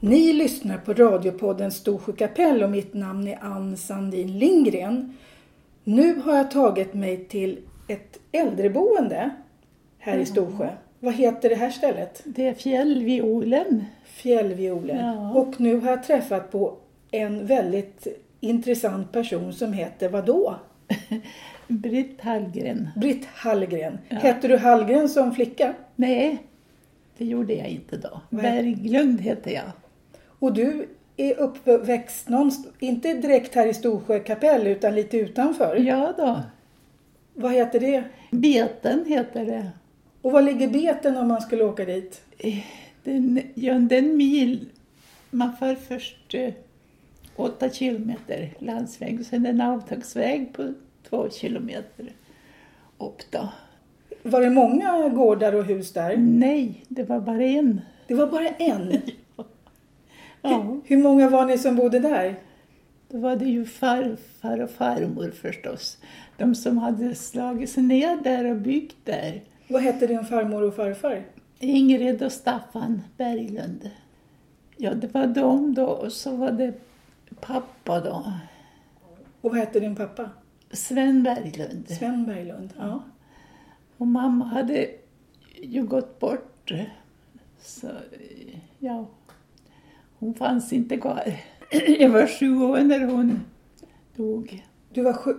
Ni lyssnar på radiopodden Storsjö kapell och mitt namn är Ann Sandin Lindgren. Nu har jag tagit mig till ett äldreboende här i Storsjö. Vad heter det här stället? Det är fjällviolen. Fjällviolen. Ja. Och nu har jag träffat på en väldigt intressant person som heter vadå? Britt Hallgren. Britt Hallgren. Hette du Hallgren som flicka? Nej, det gjorde jag inte då. Nej. Berglund hette jag. Och du är uppväxt någonstans, inte direkt här i Storsjö kapell utan lite utanför. Ja då. Vad heter det? Beten heter det. Och var ligger beten om man skulle åka dit? Den, ja, den mil. Man får först eh, åtta kilometer landsväg och sen en avtagsväg på två kilometer upp då. Var det många gårdar och hus där? Nej, det var bara en. Det var bara en. Ja, Hur många var ni som bodde där? då var det ju farfar och farmor förstås. De som hade slagit sig ner där och byggt där. Vad hette din farmor och farfar? Ingrid och Staffan Berglund. Ja, det var de då och så var det pappa då. Och vad hette din pappa? Sven Berglund. Sven Berglund. Ja. Och mamma hade ju gått bort. Så, eh, ja. Hon fanns inte kvar. Jag var sju år när hon dog. Du var sju,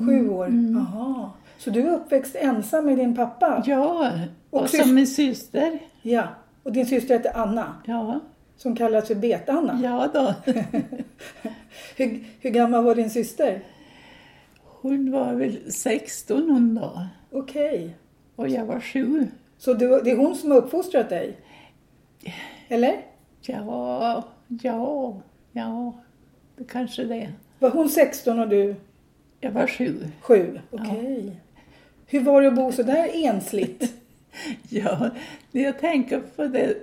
Mm. sju år? Jaha. Så du är uppväxt ensam med din pappa? Ja, Och och sys- som min syster. Ja. Och din syster hette Anna, Ja, som kallas för Bet-Anna. ja då. Hur, hur gammal var din syster? Hon var väl 16 hon då. Okej. Och jag var sju. Så du, det är hon som har uppfostrat dig? Eller? Ja, ja, ja, det kanske det. Var hon 16 och du Jag var sju. sju? Okej. Hur var det att bo så där ensligt? Ja, när jag tänker på det,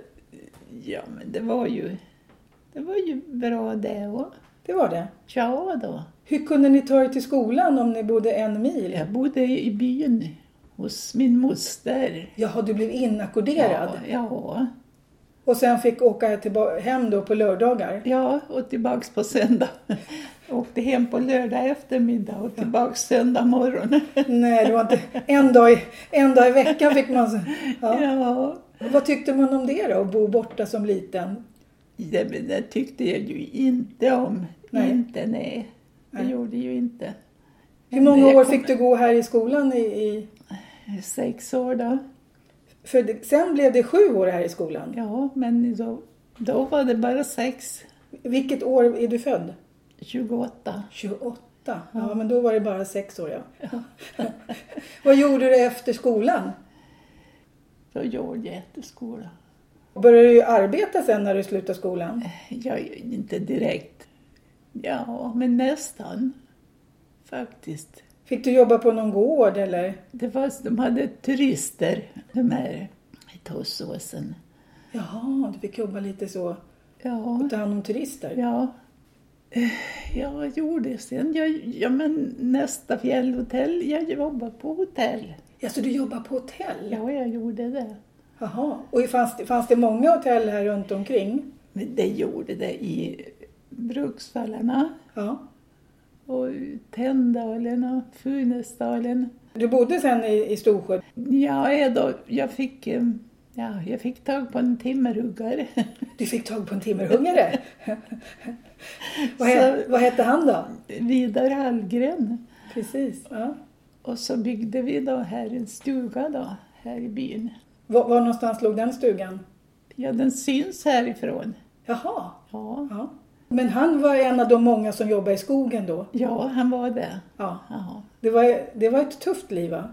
ja men det var ju, det var ju bra det och Det var det. Ja då. Hur kunde ni ta er till skolan om ni bodde en mil? Jag bodde i byn hos min moster. Jaha, du blev inackorderad. Ja, ja, Och sen fick åka tillba- hem då på lördagar. ja, och tillbaks på söndag. Åkte hem på lördag eftermiddag och tillbaks söndag morgon. Nej, det var inte... En dag i, en dag i veckan fick man... så- Ja. ja. Vad tyckte man om det då, att bo borta som liten? Det, men det tyckte jag ju inte om. Nej. Inte, nej. Det Nej. gjorde jag ju inte. Hur många Jag år kom- fick du gå här i skolan? I, i... Sex år då. För det, sen blev det sju år här i skolan. Ja, men då, då var det bara sex. Vilket år är du född? 28. 28. Ja, men då var det bara sex år, ja. Vad gjorde du efter skolan? Då gjorde jag efter skolan. Började du arbeta sen när du slutade skolan? Jag är ju inte direkt. Ja, men nästan. Faktiskt. Fick du jobba på någon gård eller? Det var, de hade turister, de här i Tåssåsen. Jaha, du fick jobba lite så. Ja. Ta hand om turister. Ja. Eh, Jag gjorde sen. Jag, ja, men nästa fjällhotell. Jag jobbade på hotell. Ja, så du jobbar på hotell? Ja, jag gjorde det. Jaha. Och fanns det, fanns det många hotell här runt omkring? Men det gjorde det i Bruksvallarna Ja. och Tänndalen och Funäsdalen. Du bodde sen i, i Storsjö? Ja, jag, då, jag, fick, eh, ja, jag fick tag på en timmerhuggare. Du fick tag på en timmerhuggare? vad, he, Så- vad hette han då? Vidar Hallgren. Precis. Ja. Och så byggde vi då här en stuga då, här i byn. Var, var någonstans låg den stugan? Ja, den syns härifrån. Jaha. Ja, Ja. Men han var en av de många som jobbade i skogen då? ja han var det. Ja. Ja, Det var, det var ett tufft liv va?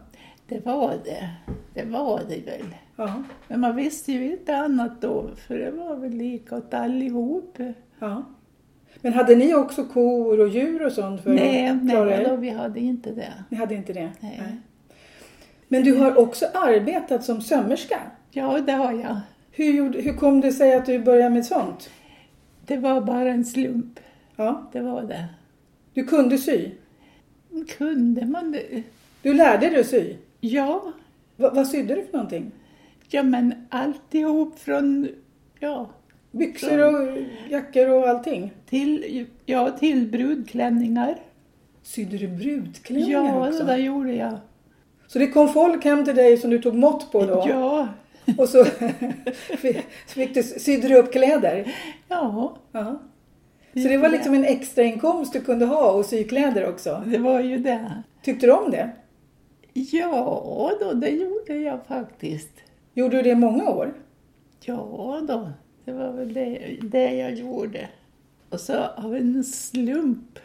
det var det. Det var det väl. Ja. Men man visste ju inte annat då, för det var väl lika åt allihop. ja. Men hade ni också kor och djur och sånt? För nej, att klara nej er? då, vi hade inte det. Ni hade inte det? Nej. Men du har också arbetat som sömmerska. Ja, det har jag. Hur, gjorde, hur kom det sig att du började med sånt? Det var bara en slump, Ja. det var det. Du kunde sy. Kunde man det? Du lärde dig att sy. Ja, Va, vad sydde du för någonting? ja men alltihop från, ja, Byxor och jackor och allting. Till, ja, till brudklänningar. Sydde du brudklänningar Ja, det också? där gjorde jag. Så det kom folk hem till dig som du tog mått på då? Ja, Och så fick- fick du, sydde du upp kläder? ja. Ja. Så det var liksom en extra inkomst du kunde ha och sy kläder också. Det var ju det. Tyckte du om det? Ja då, det gjorde jag faktiskt. Gjorde du det i många år? Ja då, det var väl det, det jag gjorde. Och så av en slump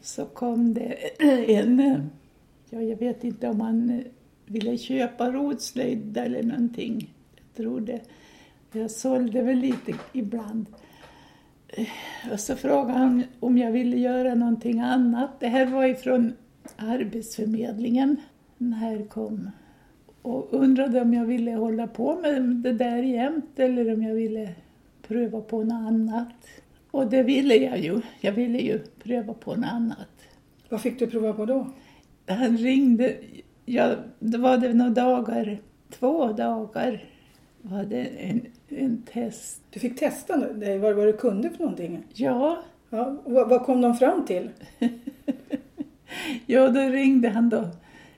så kom det en, ja jag vet inte om han ville köpa rotslöjd eller någonting. Jag tror det. Jag sålde väl lite ibland. Och så frågade han om jag ville göra någonting annat. Det här var ifrån Arbetsförmedlingen när jag kom. Och undrade om jag ville hålla på med det där jämt eller om jag ville pröva på något annat. Och det ville jag ju. Jag ville ju pröva på något annat. Vad fick du prova på då? Han ringde, ja, då var det några dagar, två dagar var det en, en test. Du fick testa dig, vad, vad du kunde för någonting. Ja, Ja, och vad, vad kom de fram till? Ja, då ringde han då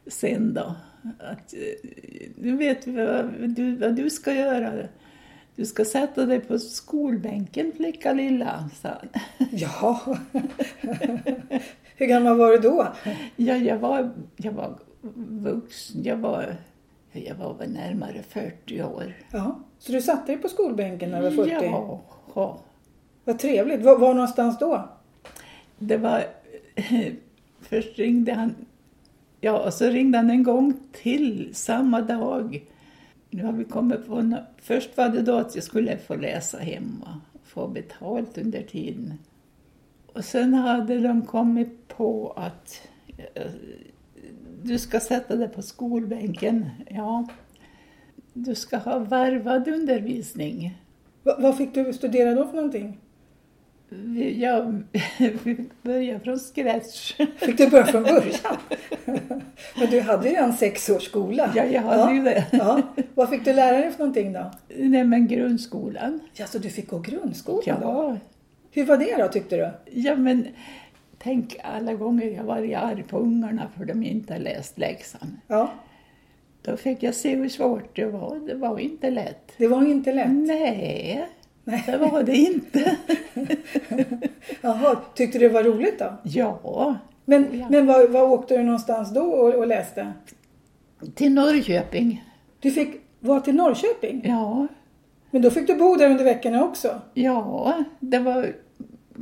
sen då. Att, eh, nu vet vi vad du, vad du ska göra. Du ska sätta dig på skolbänken flicka lilla, sa han. Ja. Hur gammal var du då? Ja, jag var, jag var vuxen. Jag var, jag var väl närmare 40 år. Ja. Så du satte dig på skolbänken när du var 40? Ja, ja. Vad trevligt. Var, var någonstans då? Det var... Först ringde han... Ja, och så ringde han en gång till samma dag. Nu har vi kommit på... nå- Först var det då att jag skulle få läsa hemma, få betalt under tiden. Och sen hade de kommit på att eh, du ska sätta dig på skolbänken. Ja. Du ska ha varvad undervisning. Va, vad fick du studera då för någonting? Vi- Jag fick börja från scratch. Fick du börja från början? Men du hade ju en sex års skola. Ja, jag hade ju det. Ja. Vad fick du lära dig för någonting då? Nej, men grundskolan. Ja, så du fick gå grundskolan då? Oh, Ja. Hur var det då tyckte du? ja, men tänk alla gånger jag varit arg på ungarna för de inte har läst läxan. Ja, Då fick jag se hur svårt det var. Det var inte lätt. det var ju inte lätt. Mm. Nej, det var det inte. Jaha, tyckte du det var roligt då? Ja, Men, Ja. men var, var åkte du någonstans då och, och läste? till Norrköping. Du fick vara till Norrköping? Ja, Men då fick du bo där under veckorna också? ja, det var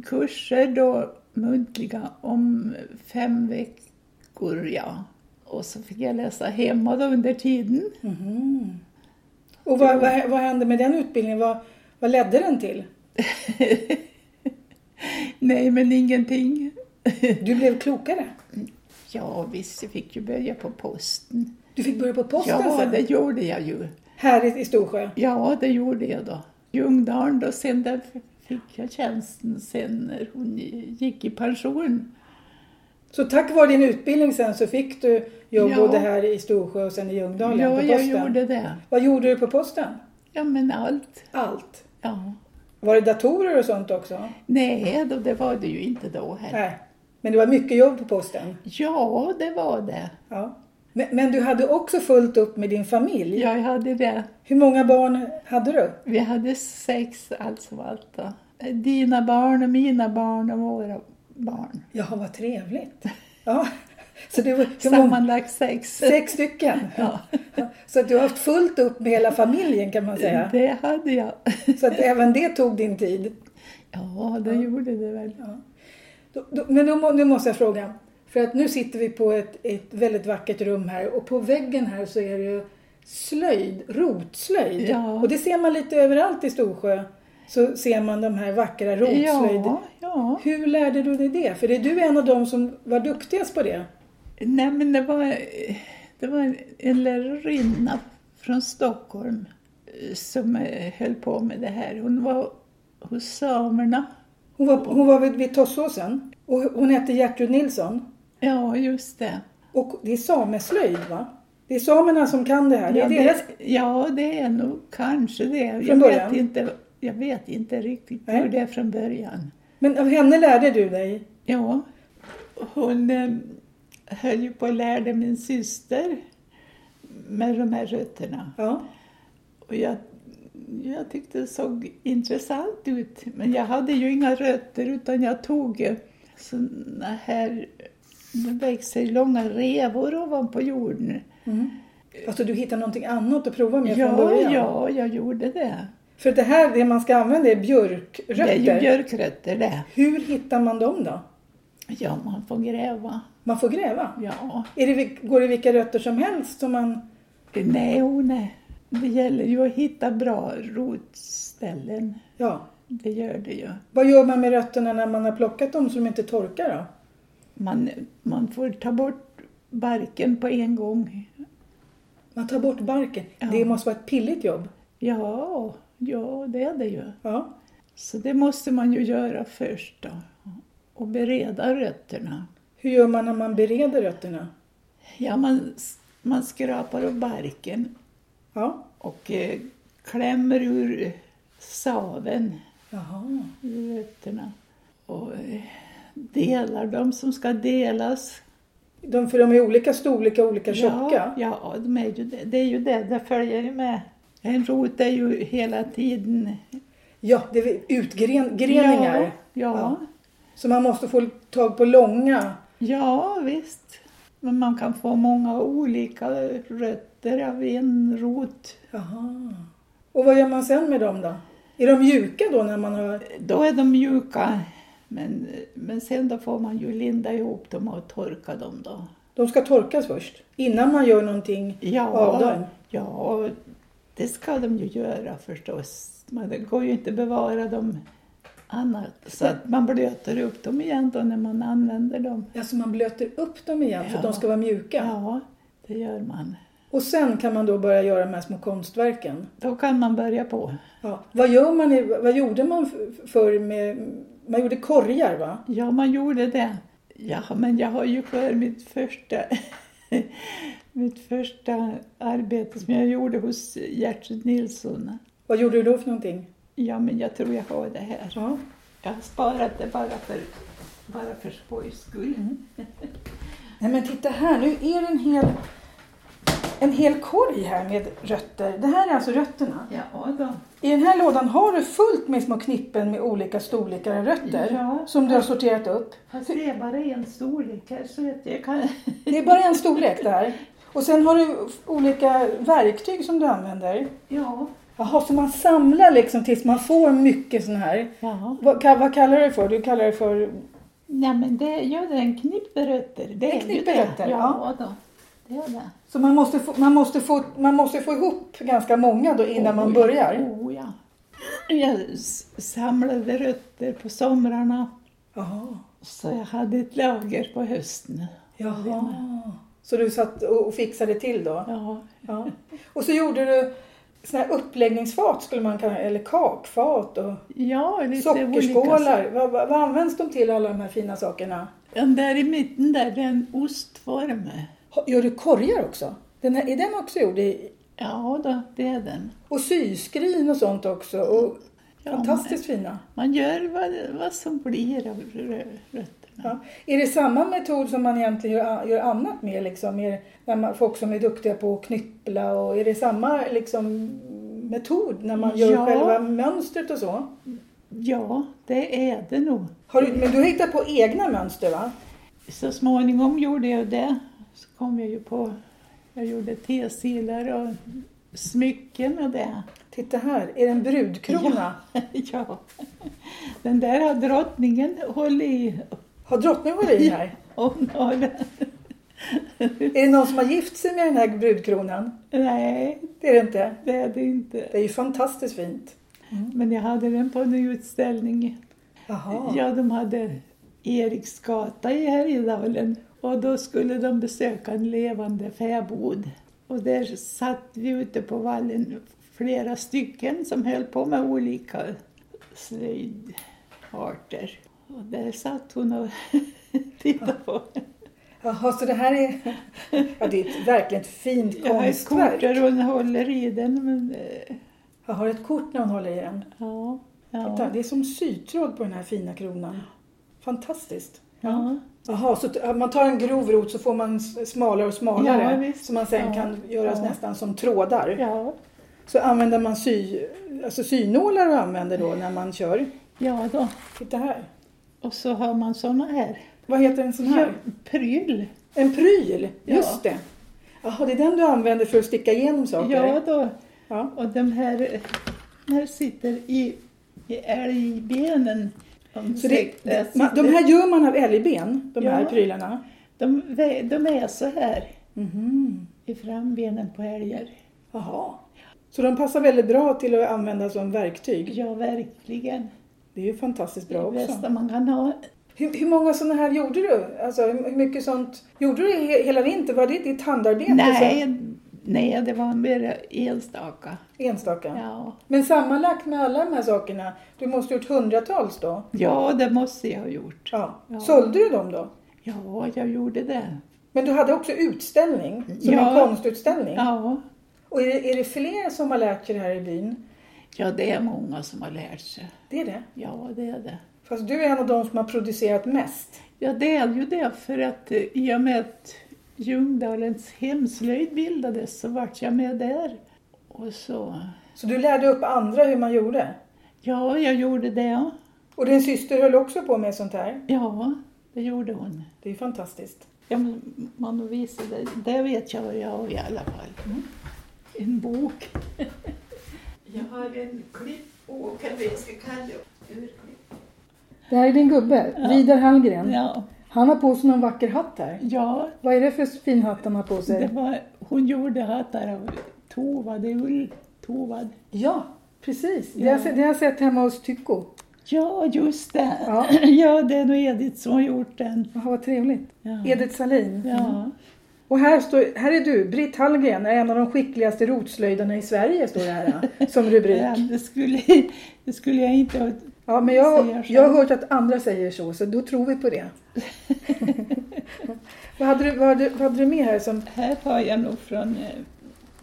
kurser då, muntliga, om fem veckor, ja. Och så fick jag läsa hemma då under tiden. Mm-hmm. Och vad, vad, vad hände med den utbildningen? Vad, vad ledde den till? Nej, men ingenting. Du blev klokare. Ja, visst, jag fick ju börja på posten. Du fick börja på posten ja, sen. det gjorde jag ju. Här i, i Storsjö. Ja, det gjorde jag då. Ljungdalen då, sen där fick jag tjänsten sen när hon gick i pension. Så tack vare din utbildning sen så fick du jobb Ja. både här i Storsjö och sen i Ljungdalen ja, på jag posten. gjorde det. Vad gjorde du på posten? Ja, men allt. Allt. Ja. Var det datorer och sånt också? Nej, då, det var det ju inte då heller. Nej. Men det var mycket jobb på posten? Ja, det var det. Ja. Men, men du hade också fullt upp med din familj? Ja, jag hade det. Hur många barn hade du? Vi hade sex allt som allt då. Dina barn och mina barn och våra barn. Jaha, vad trevligt. Ja. Så det var hur många? Sammanlagt sex. sex stycken. Ja, Så att du har haft fullt upp med hela familjen kan man säga. det hade jag. Så att även det tog din tid. Ja, det gjorde det väl. Ja. Då- då- Men då må- nu måste jag fråga. För att nu sitter vi på ett, ett väldigt vackert rum här och på väggen här så är det ju slöjd, rotslöjd. Ja. Och det ser man lite överallt i Storsjö. Så ser man de här vackra rotslöjd. Ja, ja. Hur lärde du dig det? För är du en av dem som var duktigast på det? Nej, men det var, det var en- en lärarinna från Stockholm eh, som eh, höll på med det här. Hon var hos samerna. Hon var, hon var vid, vid Tåssåsen och hon hette Gertrud Nilsson. Ja, just det. Och det är sameslöjd va? Det är samerna som kan det här. Det är Ja, deras... det, ja, det är nog kanske det. Från Jag början? vet inte. jag vet inte riktigt Nej. hur det är från början. Men av henne lärde du dig? Ja, hon eh, höll ju på att lära min syster med de här rötterna. Ja. Och jag, jag tyckte det såg intressant ut, men jag hade ju inga rötter utan jag tog eh, såna här, det växer ju långa revor ovanpå jorden. Mm. Alltså du hittade någonting annat att prova med från Ja, början? ja, jag gjorde det. För det här, det man ska använda är Det är ju björkrötter. björkrötter det. Hur hittar man dem då? Ja, man får gräva. Man får gräva? Ja, Är det, vil- går det vilka rötter som helst som man... nej, oh, nej. Det gäller ju att hitta bra rotställen. Ja. Det gör det ju. Vad gör man med rötterna när man har plockat dem så de inte torkar då? Man, man får ta bort barken på en gång. Man tar bort barken. Ja. Det måste vara ett pilligt jobb. Ja, ja, det är det ju. Ja. Så det måste man ju göra först då. Och bereda rötterna. Hur gör man när man bereder rötterna? Ja, man, man skrapar av barken Ja. och eh, klämmer ur saven Jaha. ur rötterna. Och eh, delar dem som ska delas. De, för de är olika storlek och olika Ja, tjocka. ja de är ju det. det är ju det, det följer ju med. En rot är ju hela tiden... Ja, det är utgreningar. Ja, ja, Så man måste få tag på långa. ja, visst. Men man kan få många olika rötter av en rot. Jaha. Och vad gör man sen med dem då? Är de mjuka då när man har... Då är de mjuka. Men, men sen då får man ju linda ihop dem och torka dem då. De ska torkas först? Innan man gör någonting av dem? Ja, ja, det ska de ju göra förstås. Men det går ju inte att bevara dem annat. Så att man blöter upp dem igen då när man använder dem. Alltså man blöter upp dem igen för att Ja. de ska vara mjuka. Ja, det gör man. Och sen kan man då börja göra de här små konstverken. Då kan man börja på. Ja. Vad, gör man i, vad gjorde man f- förr med... Man gjorde korgar va? Ja, man gjorde det. Ja, men jag har ju kvar mitt första, mitt första arbete som jag gjorde hos Gertrud Nilsson. Vad gjorde du då för någonting? Ja, men jag tror jag har det här. Ja. Jag har sparat det bara för, bara för skojs skull. Nej men titta här, nu är det en hel, en hel korg här med rötter. Det här är alltså rötterna. Ja, då. I den här lådan har du fullt med små knippen med olika storlekar av rötter Ja. som du har sorterat upp. Fast det är bara en storlek här så att jag kan... Det är bara en storlek där. Och sen har du f- olika verktyg som du använder. Ja. Jaha, så man samlar liksom tills man får mycket sån här. ja. Vad, ka- vad kallar du det för? Du kallar det för... Nej, men det är ju en knippe rötter. Det En är ju knippe det. rötter, ja. då. Det är det. Så man måste få, man måste få, man måste få ihop ganska många då innan man Oh, börjar? Ja. Oh, ja. Jag s- samlade rötter på somrarna Jaha. så jag hade ett lager på hösten. Jaha. Så du satt och och fixade till då? Ja, Ja. Och så gjorde du såna här uppläggningsfat skulle man kalla eller kakfat och ja lite olika. sockerskålar. Vad, vad, vad används de till alla de här fina sakerna? Den där i mitten där, det är en ostform. Ha- Gör du korgar också? Den här, är den också gjord i... Ja, då, det är den. Och syskrin och sånt också. Och Ja, fantastiskt fina. Man gör vad, vad som blir av rö- rötterna. Ja. Är det samma metod som man egentligen gör, gör annat med? Liksom? Är det, när man, folk som är duktiga på att knyppla och är det samma liksom, metod när man gör Ja. själva mönstret och så? Ja, det är det nog. Har du, men du har hittat på egna mönster va? Så småningom gjorde jag det. Så kom jag ju på, jag gjorde tesilar och smycken och det. Titta här, är det en brudkrona? ja. Den där har drottningen hållit i. Har drottningen varit i den här? Hon har den. Är det någon som har gift sig med den här brudkronan? Nej, Det är det inte. det är det inte. Det är ju fantastiskt fint. Men jag hade den på en utställning. Jaha. Ja, de hade Eriksgata i Härjedalen och då skulle de besöka en levande fäbod. Och där satt vi ute på vallen, flera stycken som höll på med olika slöjdarter. Och där satt hon och tittade på. Jaha, så det här är... Ja, det är ett verkligen ett fint Jag har ett kort konstverk. där hon håller i den, men eh, Jag har ett kort när hon håller i den. Ja. Titta, Ja. det är som sytråd på den här fina kronan. Fantastiskt. Ja. Jaha, så t- man tar en grov rot så får man s- smalare och smalare. Ja, visst. så man sen Ja. kan göras Ja. nästan som trådar. Ja. Så använder man sy, alltså synålar och använder då när man kör. ja då. Titta här. Och så har man såna här. Vad heter en sån här? Pryl. En pryl, Ja. just det. Jaha, det är den du använder för att sticka igenom saker? Ja då. Ja. Och de här, eh, här sitter i, i älgbenen. De, Så det, sitter- man, de här gör man av älgben, de här Eh, Ja. prylarna? de, vä- de är så här Mhm. i frambenen på älgar. Jaha. Så de passar väldigt bra till att använda som verktyg. Ja, verkligen. Det är ju fantastiskt bra det också. bästa man kan ha. Hur, hur många sådana här gjorde du? Alltså hur hur mycket sånt gjorde du he- hela vintern? Var det ditt handarbete? Nej, nej, det var bara enstaka. Så? Enstaka? Ja. Men sammanlagt med alla de här sakerna, du måste ha gjort hundratals då? ja, det måste jag ha gjort. Ja. Ja. Sålde du dem då? Ja, jag gjorde det. Men du hade också utställning, som Ja. en konstutställning. Ja. Och är det, är det fler som har lärt sig det här i byn? ja, det är många som har lärt sig. Det är det. Ja, det är det. Fast du är en av de som har producerat mest. Ja, det är ju det för att eh, i och med att Ljungdalens hemslöjd bildades så vart jag med där. Och så, Så du lärde upp andra hur man gjorde. ja, jag gjorde det. Och din syster höll också på med sånt här. Ja, det gjorde hon. Det är ju fantastiskt. Ja, men man visade, det vet jag vad jag har i alla fall. Mm. En bok. jag har en klippbok, eller vad jag ska kalla det. Urklipp. Det här är din gubbe, Ja. Vidar Hallgren. Ja, Han har på sig någon vacker hatt här. ja Vad är det för fin hatt han har på det sig? var, hon gjorde hattar av tovad ull. Tovad. Ja, precis. Det, Ja. har, jag se- det har jag sett hemma hos Tycho. Ja, just det. Ja. Ja, det är nog Edith som har gjort den. Jaha, vad trevligt. Ja. Edith Salin. Ja. Och här, står, här är du, Britt Hallgren, är en av de skickligaste rotslöjdarna i Sverige, står det här som rubrik. Ja, Det, skulle, det skulle jag inte ha... Ja, men jag, Säger så. jag har hört att andra säger så, så då tror vi på det. vad, hade du, vad, hade, vad hade du med här? Som, Här har jag nog från... eh,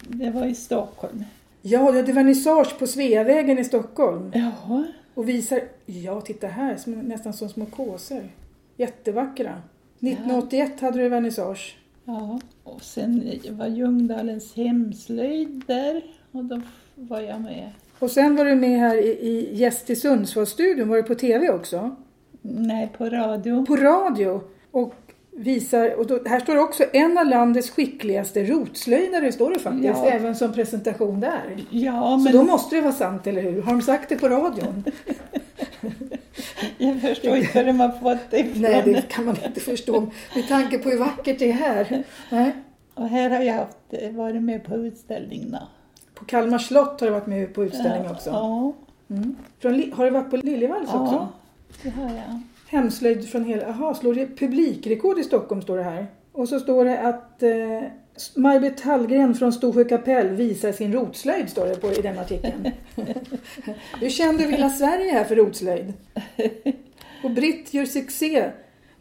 Det var i Stockholm. ja, du hade vernissage på Sveavägen i Stockholm Ja, och visar, ja titta här, som, nästan som små kåsor. Jättevackra. 1981 hade du vernissage. ja. Och sen var Ljungdalens hemslöjd där och då var jag med. Och sen var du med här i, i Gäst i Sundsvallsstudion, var du på TV också? Nej, på radio. På radio och visar, och då, här står det också en av landets skickligaste rotslöjdare står det faktiskt, Ja. även som presentation där. Ja, Så då men måste det vara sant, eller hur? Har de sagt det på radion? jag förstår inte hur de har fått det ifrån. Nej, det kan man inte förstå med tanke på hur vackert det är här. Nej. Och här har jag haft, eh, varit med på utställningarna. På Kalmar slott har du varit med på utställning också. Ja, Mm. Från, Li- har du varit på Liljevalchs också? ja det har jag. Hemslöjd från hela... Jaha, slår det publikrekord i Stockholm står det här. Och så står det att eh, Maj-Britt Hallgren från Storsjö kapell visar sin rotslöjd, står det på, i den artikeln. du kände hela Sverige här för rotslöjd. Och Britt gör succé.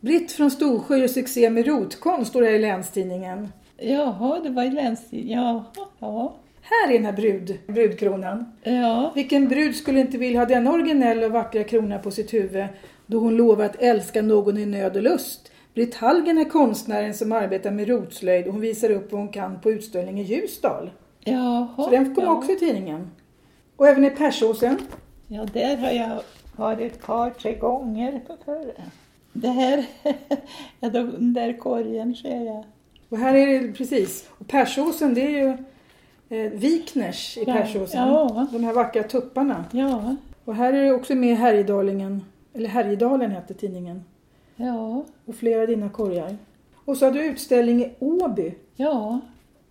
Britt från Storsjö gör succé med rotkonst, står det här i Länstidningen. Jaha, det var i Länstidningen. Jaha, ja. Här är den här brud, brudkronan. Ja, Vilken brud skulle inte vilja ha denna originella och vackra krona på sitt huvud då hon lovar att älska någon i nöd och lust? Britt Hallgren är konstnären som arbetar med rotslöjd och hon visar upp vad hon kan på utställning i Ljusdal. jaha. Så den kom ja. också i tidningen. Och även i Persåsen. Ja, där har jag varit ett par, tre gånger förr. Det här, ja, då- den där korgen ser jag. Och här är det precis. Och Persåsen det är ju eh, Vikners i Ja, Persåsen. ja. De här vackra tupparna. Ja, Och här är det också med Härjedalingen. Eller Härjedalen heter tidningen. ja, Och flera av dina korgar. Och så har du utställning i Åby. ja.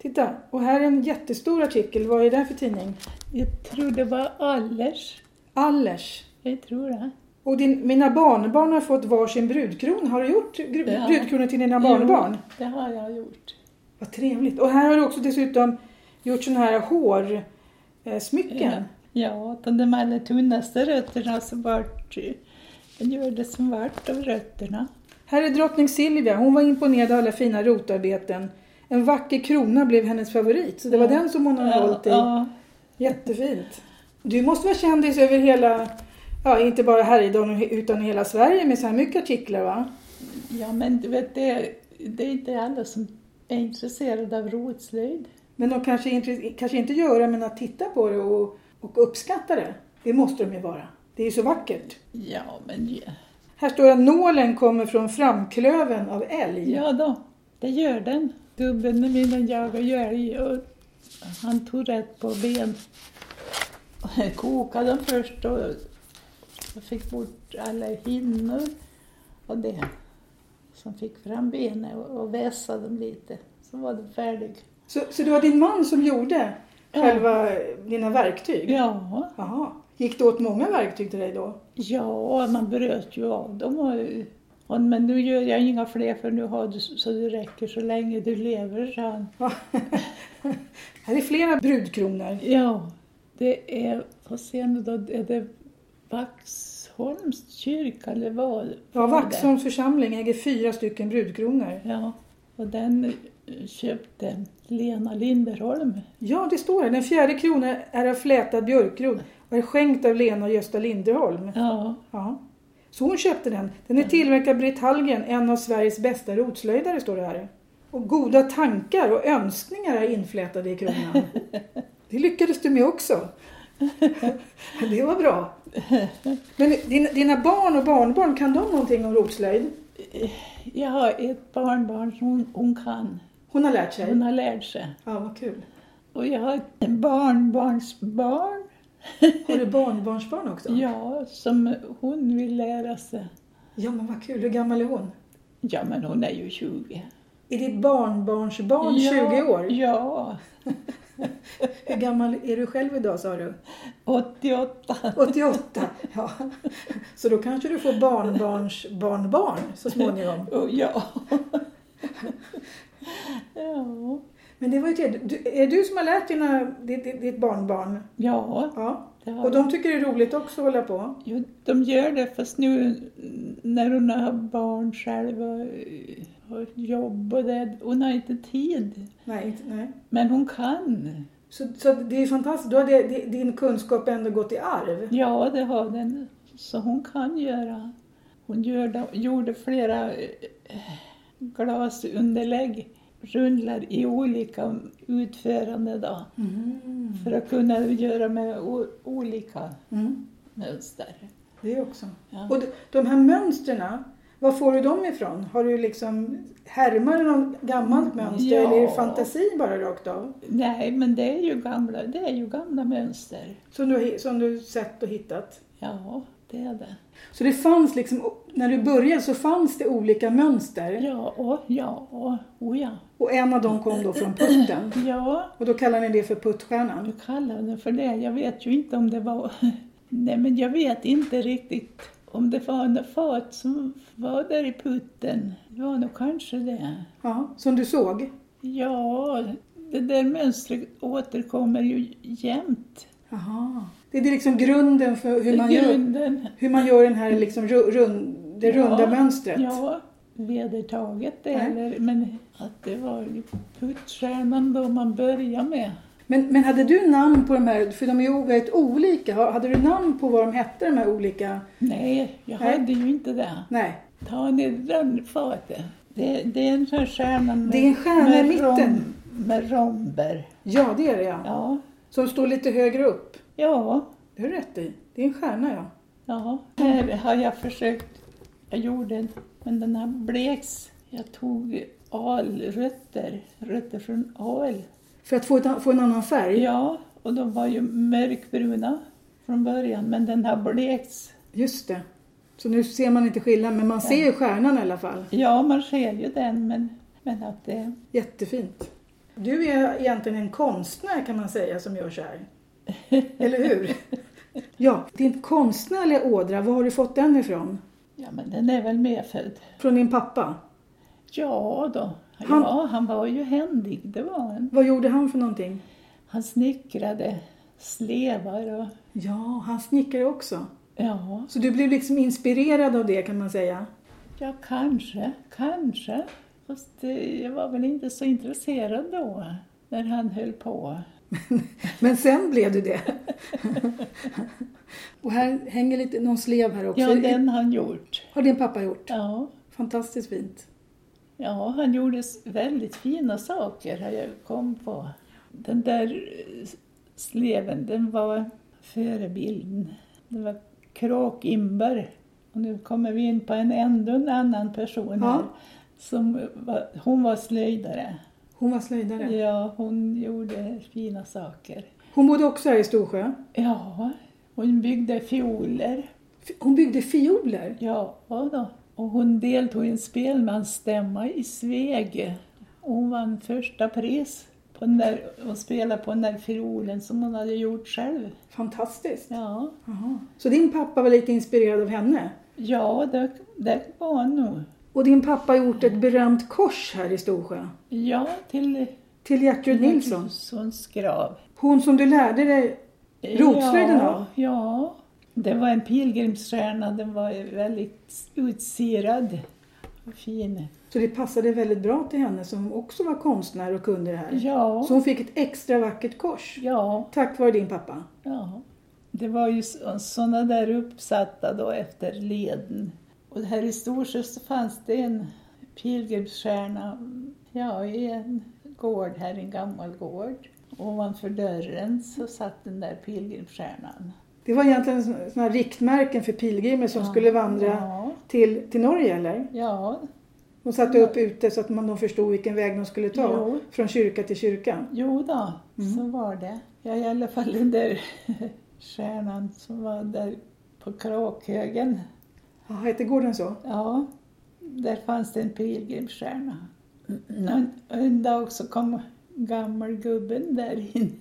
Titta, och här är en jättestor artikel. Vad är det här för tidning? Jag tror det var Allers. Allers. Jag tror det. Och din, mina barnbarn har fått varsin brudkrona. Har du gjort gru- Ja. brudkronor till dina barnbarn? Jo, det har jag gjort. Vad trevligt. Och här har du också dessutom gjort sådana här eh, hårsmycken. Ja, ja utan de allra tunnaste rötterna som vart, eh, jag gjorde som vart av rötterna. Här är drottning Silvia. Hon var imponerad av alla fina rotarbeten. En vacker krona blev hennes favorit. Så det var den som hon hade hållit i. ja, Jättefint. Du måste vara kändis över hela, ja inte bara Härjedalen utan hela Sverige med så här mycket artiklar va? Ja, men du vet, det är, det är inte alla som är intresserade av rotslöjd. Men de kanske, inte- kanske inte gör det men att titta på det och, och uppskatta det. Det måste de ju vara. Det är ju så vackert. Ja, men ja. Här står att nålen kommer från framklöven av älg. ja då, det gör den. Gubben i minnen jagade ju älg och han tog rätt på ben. Jag kokade dem först och jag fick bort alla hinnor och det som fick fram benen och- och vässade dem lite. Så var den färdig. Så, så det var din man som gjorde Ja. själva dina verktyg? Ja, Jaha. Gick det åt många verktyg till dig då? ja man bröt ju av dem. Och, och, men nu gör jag inga fler för nu har du så det räcker så länge du lever, sa han. Här är flera brudkronor. Ja, det är, vad ser ni då, är det Vaxholms kyrka eller vad? Ja, Vaxholms församling äger fyra stycken brudkronor. Ja, och den köpte Lena Linderholm. Ja, det står här. Den fjärde kronan är av flätad björkrod och är skänkt av Lena och Gösta Linderholm. Ja, Ja. Så hon köpte den. Den är tillverkad av Britt Hallgren, en av Sveriges bästa rotslöjdare, står det här. Och goda tankar och önskningar är inflätade i kronan. Det lyckades du med också. Det var bra. Men dina, dina barn och barnbarn, kan de någonting om rotslöjd? jag har ett barnbarn som hon, hon kan. Hon har lärt sig? Hon har lärt sig. Ja, vad kul. Och jag har ett barnbarnsbarn. Har du barnbarnsbarn också? Ja, som hon vill lära sig. Ja, men vad kul. Hur gammal är hon? Ja, men hon är ju 20. Är ditt barnbarnsbarn ja, 20 år? Ja, Hur gammal är du själv idag, sa du? 88. 88. Ja. Så då kanske du får barnbarns barnbarn så småningom. Och Oh, ja. ja. Men det var ju trevligt. Du- Är det du som har lärt dina, ditt, ditt- ditt barnbarn? Ja, Ja. det har Och de tycker det är roligt också att hålla på? Jo, de gör det fast nu när hon har barn själv och, och jobb och det, hon har inte tid. Nej, inte, nej. Men hon kan. Så, så det är fantastiskt. Då har det, det- din kunskap ändå gått i arv. Ja, det har den. Så hon kan göra. Hon gör, det- gjorde flera eh, glasunderlägg, rundlar i olika utförande då, Mm. för att kunna göra med o- olika Mm. mönster. Det också. Ja. Och d- de här mönstren, var får du dem ifrån? Har du liksom, härmar du någon gammalt mönster Ja. eller är det fantasi bara rakt av? Nej, men det är ju gamla, det är ju gamla mönster. Som du, har hi- som du sett och hittat? Ja, det är det. Så det fanns liksom, när du började så fanns det olika mönster Ja, och ja, och oh ja. och en av dem kom då från putten. Ja, Och då kallar ni det för puttstjärnan. du kallar den för det. Jag vet ju inte om det var... Nej, men jag vet inte riktigt om det var något fat som var där i putten. Det var nog kanske det. Ja, som du såg. Ja, det där mönstret återkommer ju jämt. Jaha. Det är liksom grunden för hur man gör, Grunden. hur man gör den här liksom ru- rund, det Ja, runda mönstret. Ja, vedertaget det, Nej. eller, men att det var ju puttstjärnan då man började med. Men, men hade du namn på de här, för de är ju väldigt olika, Ha- hade du namn på vad de hette de här olika? Nej, jag Nej. hade ju inte det. Nej, Ta ner den fatet. Det, det är en sån här stjärna med, Det är en stjärna i med, mitten. med romber. ja det är det ja. Ja, Som står lite högre upp. ja, Det har du rätt i. Det är en stjärna ja. ja. Här har jag försökt. Jag gjorde en, men den här bleks. Jag tog alrötter, rötter från al. För att få, ett, få en annan färg. Ja, och de var ju mörkbruna från början, men den har blekts. Just det. Så nu ser man inte skillnad, men man ser ju stjärnan i alla fall. Ja, man ser ju den, men, men att det... Jättefint. Du är egentligen en konstnär kan man säga som gör så här. Eller hur? Ja, din konstnärliga ådra, var har du fått den ifrån? Ja, men den är väl medfödd. Från din pappa? Ja då. Han- Ja, han var ju händig, det var han. Vad gjorde han för någonting? Han snickrade slevar och... Ja, han snickare också. Ja, Så du blev liksom inspirerad av det kan man säga? ja kanske, kanske. Fast eh, jag var väl inte så intresserad då, när han höll på. Men sen blev du det. Och här hänger lite, någon slev här också. Ja, den han gjort. Har din pappa gjort. Ja. Fantastiskt fint. ja, han gjorde s- väldigt fina saker har jag kom på. Den där eh, sleven, den var före bilden. Det var kråkimber. Och nu kommer vi in på en ändå en annan person Ja. här. Som var, hon var slöjdare. Hon var slöjdare. Ja, hon gjorde fina saker. Hon bodde också här i Storsjö. Ja, hon byggde fioler. F- Hon byggde fioler. Ja, då. Och hon deltog i en spelmansstämma i Sveg. Och Hon vann första pris på den där, och spelade på den där fiolen som hon hade gjort själv. Fantastiskt. Ja, Jaha. Så din pappa var lite inspirerad av henne. ja det, det var hon nog. Och din pappa har gjort ett berömt kors här i Storsjö. Ja, till Till Gertrud Mm. Nilsson. Nilssons grav. Hon som du lärde dig Rotslöjden ja, då? ja, det var en pilgrimsstjärna. Den var väldigt utsirad och fin. Så det passade väldigt bra till henne som också var konstnär och kunde det här. Ja, Så hon fick ett extra vackert kors. ja, Tack vare din pappa. ja. Det var ju sådana där uppsatta då efter leden. Och här i Storsjö så fanns det en pilgrimsstjärna ja, i en gård här, en gammal gård. Ovanför dörren så satt den där pilgrimsstjärnan. Det var egentligen sådana här riktmärken för pilgrimer som Ja, skulle vandra Ja, till, till Norge eller? ja, De satte Mm. upp ute så att man, de förstod vilken väg de skulle ta. Jo. Från kyrka till kyrka. Jo då, Mm. så var det. Ja, i alla fall den där stjärnan som var där på Kråkhögen. Ja, hette gården så? Ja, där fanns det en pilgrimsstjärna. Och en dag så kom gammelgubben där in,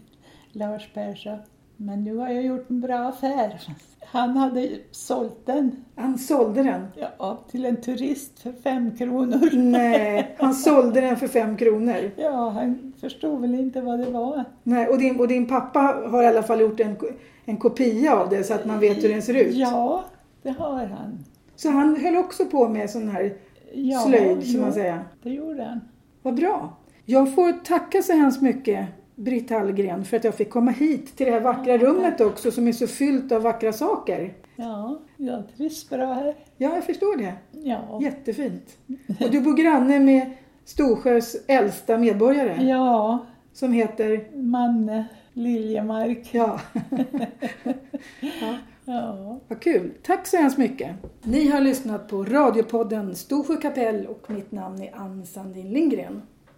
Lars Persson. Men nu har jag gjort en bra affär. Han hade sålt den Han sålde den. ja, till en turist för fem kronor. Nej, han sålde den för fem kronor. Ja, han förstod väl inte vad det var. Nej, och, din, och din pappa har i alla fall gjort en, ko- en kopia av det så att man vet hur den ser ut. Ja, det har han. Så han höll också på med sån här Ja, slöjd, som jo, man säger. Det gjorde han. Vad bra. Jag får tacka så hemskt mycket Britt Hallgren för att jag fick komma hit till det här vackra rummet också som är så fyllt av vackra saker. Ja, jag trivs bra här. Ja, jag förstår det. Ja, Jättefint. Och du bor granne med Storsjös äldsta medborgare ja som heter... Manne Liljemark. Ja, Ja. vad kul. Tack så hemskt mycket. Ni har lyssnat på radiopodden Storsjö kapell och mitt namn är Ann Sandin Lindgren.